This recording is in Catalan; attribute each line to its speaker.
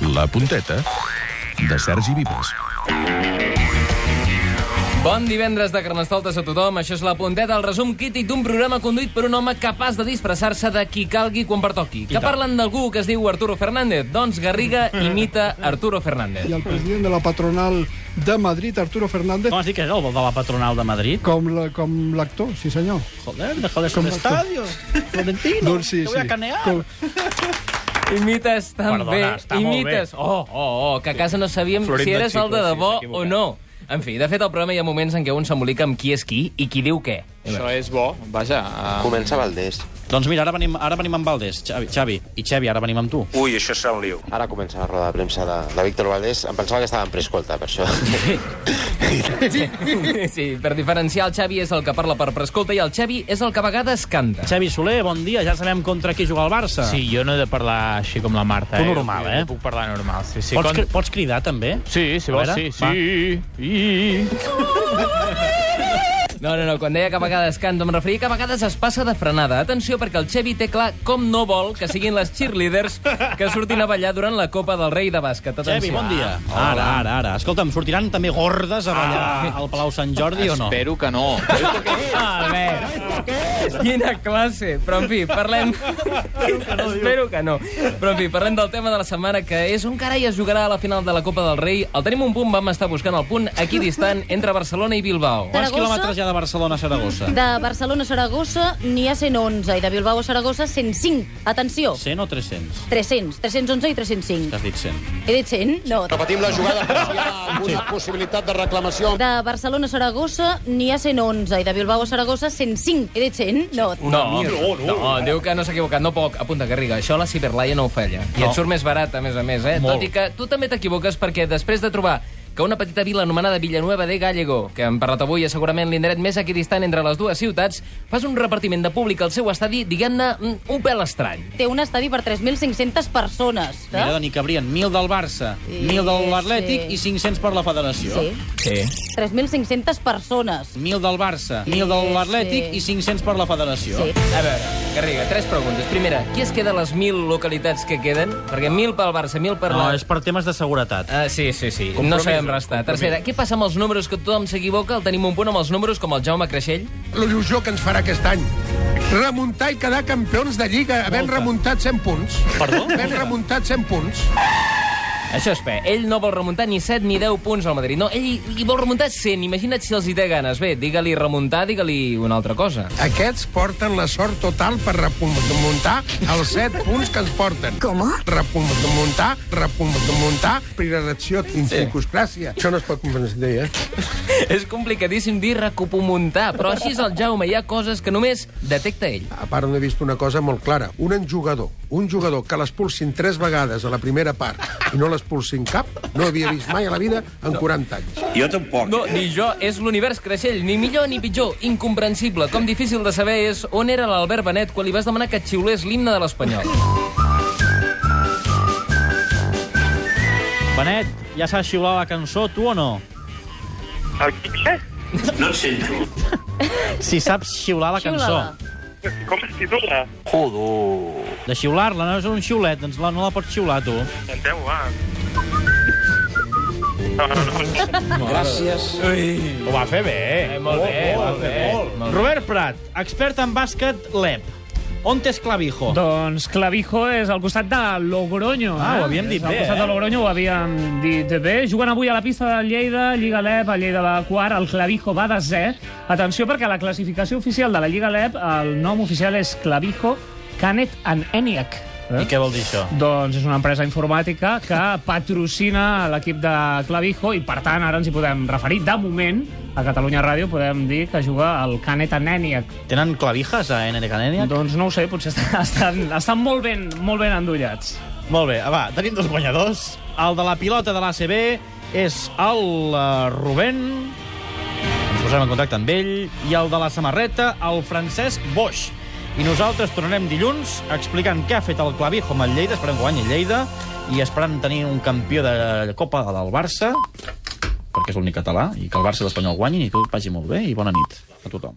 Speaker 1: La punteta de Sergi Vives.
Speaker 2: Bon divendres de Carnestoltes a tothom. Això és la punteta, el resum crític d'un programa conduït per un home capaç de disfressar-se de qui calgui quan pertoqui. Que parlen d'algú que es diu Arturo Fernández. Doncs Garriga imita Arturo Fernández.
Speaker 3: i el president de la patronal de Madrid, Arturo Fernández,
Speaker 4: Com es diu que és el de la patronal de Madrid?
Speaker 3: com la- com l'actor, sí senyor.
Speaker 4: Joder, déjales
Speaker 3: Com
Speaker 4: un
Speaker 3: el-
Speaker 4: estadio. Florentino,
Speaker 3: Doncs sí,
Speaker 4: te voy
Speaker 3: sí.
Speaker 4: a canear.
Speaker 3: Com,
Speaker 2: Imites tan
Speaker 4: Perdona,
Speaker 2: bé.
Speaker 4: està molt
Speaker 2: Imites... Oh, oh, oh, que a casa no sabíem si eres el de debò o no. En fi, de fet, al programa hi ha moments en què un s'embolica amb qui és qui i qui diu què.
Speaker 5: Això és bo, vaja. Uh...
Speaker 6: Comença Valdés.
Speaker 4: Doncs mira, ara venim, ara venim amb Valdés, Xavi, Xavi. I Xavi, ara venim amb tu.
Speaker 7: Ui, això serà un lío.
Speaker 6: Ara comença la roda de premsa de, de Víctor Valdés. Em pensava que estava en preescolta, per això.
Speaker 2: Sí, per diferenciar, el Xavi és el que parla per prescolta i el Xavi és el que a vegades canta.
Speaker 4: Xavi Soler, bon dia, ja sabem contra qui juga el Barça.
Speaker 8: Sí, jo no he de parlar així com la Marta.
Speaker 4: Tu
Speaker 8: eh?
Speaker 4: normal, eh?
Speaker 8: Jo puc parlar normal, sí, sí.
Speaker 4: pots,
Speaker 8: Com-
Speaker 4: cri pots cridar, també?
Speaker 8: Sí, si
Speaker 4: A
Speaker 8: vols,
Speaker 4: veure,
Speaker 8: sí. sí. I...
Speaker 2: No, no, no, quan deia que a vegades canta em referia que a vegades es passa de frenada. Atenció, perquè el Xevi té clar com no vol que siguin les cheerleaders que surtin a ballar durant la Copa del Rei de Bàsquet. Atenció.
Speaker 4: Xavi, bon dia. Ara, ara, ara. Escolta'm, sortiran també gordes
Speaker 8: Ah.
Speaker 4: a ballar al Palau Sant Jordi o no?
Speaker 5: Espero que no.
Speaker 2: A veure, quina classe. Però, en fi, parlem... Espero que no. Però, en fi, parlem del tema de la setmana, que és on carai es jugarà a la final de la Copa del Rei. El tenim un punt, vam estar buscant el punt aquí distant entre Barcelona i Bilbao.
Speaker 4: Quants
Speaker 9: Saragossa?
Speaker 4: quilòmetres hi ha de Barcelona a Saragossa?
Speaker 9: De Barcelona a Saragossa n'hi ha 111 i de Bilbao a Saragossa 105. Atenció,
Speaker 4: 100 o 300?
Speaker 9: 300, 311 i
Speaker 4: Que
Speaker 9: 305.
Speaker 4: has dit 100.
Speaker 9: He dit 100? No.
Speaker 6: Repetim la jugada, però hi ha alguna possibilitat de reclamació.
Speaker 9: De Barcelona a Saragossa n'hi ha 111 i de Bilbao a Saragossa 105. He dit 100? No.
Speaker 2: No, no, no, diu que no s'ha equivocat, no poc. Apunta, Garriga, això la ciberlaia no ho falla. I
Speaker 4: No.
Speaker 2: et surt més barat, a més a més, eh?
Speaker 4: Molt.
Speaker 2: Tot i que tu també t'equivoques perquè després de trobar que una petita vila anomenada Villanueva de Gallego, que hem parlat avui, és segurament l'indret més equidistant entre les dues ciutats, fas un repartiment de públic al seu estadi, diguem-ne, mm, un pèl estrany.
Speaker 9: Té un estadi per 3.500 persones. eh?
Speaker 4: Mira, n'hi cabrien 1.000 del Barça,
Speaker 9: Sí,
Speaker 4: 1.000 de l'Atlètic
Speaker 9: sí.
Speaker 4: i 500 per la Federació.
Speaker 9: Sí.
Speaker 2: Sí.
Speaker 9: 3.500 persones.
Speaker 4: 1.000 del Barça, 1.000
Speaker 9: Sí,
Speaker 4: de l'Atlètic
Speaker 9: sí.
Speaker 4: i 500 per la Federació.
Speaker 9: Sí.
Speaker 2: A veure, Garriga, tres preguntes. Primera, qui es queda a les mil localitats que queden? Perquè mil pel Barça, mil per la...
Speaker 4: per temes de seguretat.
Speaker 2: Ah, sí, sí, sí. No sabem restar. Tercera, què passa amb els números que tothom s'equivoca? El tenim un punt amb els números com el Jaume Creixell?
Speaker 10: l'il·lusió que ens farà aquest any. Remuntar i quedar campions de Lliga, havent remuntat 100 punts.
Speaker 4: Eh,
Speaker 10: Perdó? Havent remuntat 100 punts.
Speaker 2: Això és fe. Ell no vol remuntar ni 7 ni 10 punts al Madrid. No, ell hi- hi vol remuntar 100. Imagina't si els hi té ganes. Bé, digue-li remuntar, digue-li una altra cosa.
Speaker 10: Aquests porten la sort total per remuntar els 7 punts que ens porten. Com? Remuntar, remuntar, prioritat, incircuscràcia. Això no es pot comprendre, eh?
Speaker 2: és complicadíssim dir recupomuntar, però així és el Jaume. Hi ha coses que només detecta ell.
Speaker 10: A part, no he vist una cosa molt clara. Un jugador, un jugador que l'expulsin tres vegades a la primera part i no l'expulsin cap, no havia vist mai a la vida en 40 anys.
Speaker 7: Jo tampoc.
Speaker 2: No, ni jo, és l'univers Creixell, ni millor ni pitjor, incomprensible. Com difícil de saber és on era l'Albert Benet quan li vas demanar que et xiulés l'himne de l'Espanyol.
Speaker 4: Benet, ja s'ha xiulat la cançó, tu o no?
Speaker 7: No et sento.
Speaker 4: Si saps xiular la
Speaker 9: Xiula-la.
Speaker 4: cançó. De xiular-la, no és un xiulet, doncs la, no la pots xiular, tu. Ho va fer bé.
Speaker 2: Eh, molt bé, molt bé, molt bé.
Speaker 4: Robert Prat, expert en bàsquet LEP. On t'és clavijo?
Speaker 11: Doncs Clavijo és al costat de Logroño.
Speaker 4: Ah,
Speaker 11: eh?
Speaker 4: ho havíem dit
Speaker 11: és al
Speaker 4: bé,
Speaker 11: Al costat
Speaker 4: eh?
Speaker 11: de Logroño ho havíem dit bé. Juguen avui a la pista del Lleida, Lliga LEP, a Lleida va quart, el Clavijo va desè. Atenció, perquè a la classificació oficial de la Lliga LEP, el nom oficial és Clavijo, Canet and Eniac.
Speaker 10: Eh?
Speaker 4: I què vol dir això?
Speaker 11: Doncs és una empresa informàtica que patrocina l'equip de Clavijo i, per tant, ara ens hi podem referir. De moment, a Catalunya Ràdio podem dir que juga el Canet Anèniac.
Speaker 4: Tenen clavijas a NN Canènia?
Speaker 11: Doncs no ho sé, potser estan, estan, estan molt, ben, molt ben endollats.
Speaker 4: Molt bé, va, tenim dos guanyadors. El de la pilota de l'ACB és el eh, Rubén, ens posem en contacte amb ell, i el de la samarreta, el Francesc Boix. I nosaltres tornarem dilluns explicant què ha fet el Clavijo amb el Lleida, esperem que guanyi el Lleida, i esperant tenir un campió de Copa del Barça, perquè és l'únic català, i que el Barça i l'Espanyol guanyin i que tot vagi molt bé, i bona nit a tothom.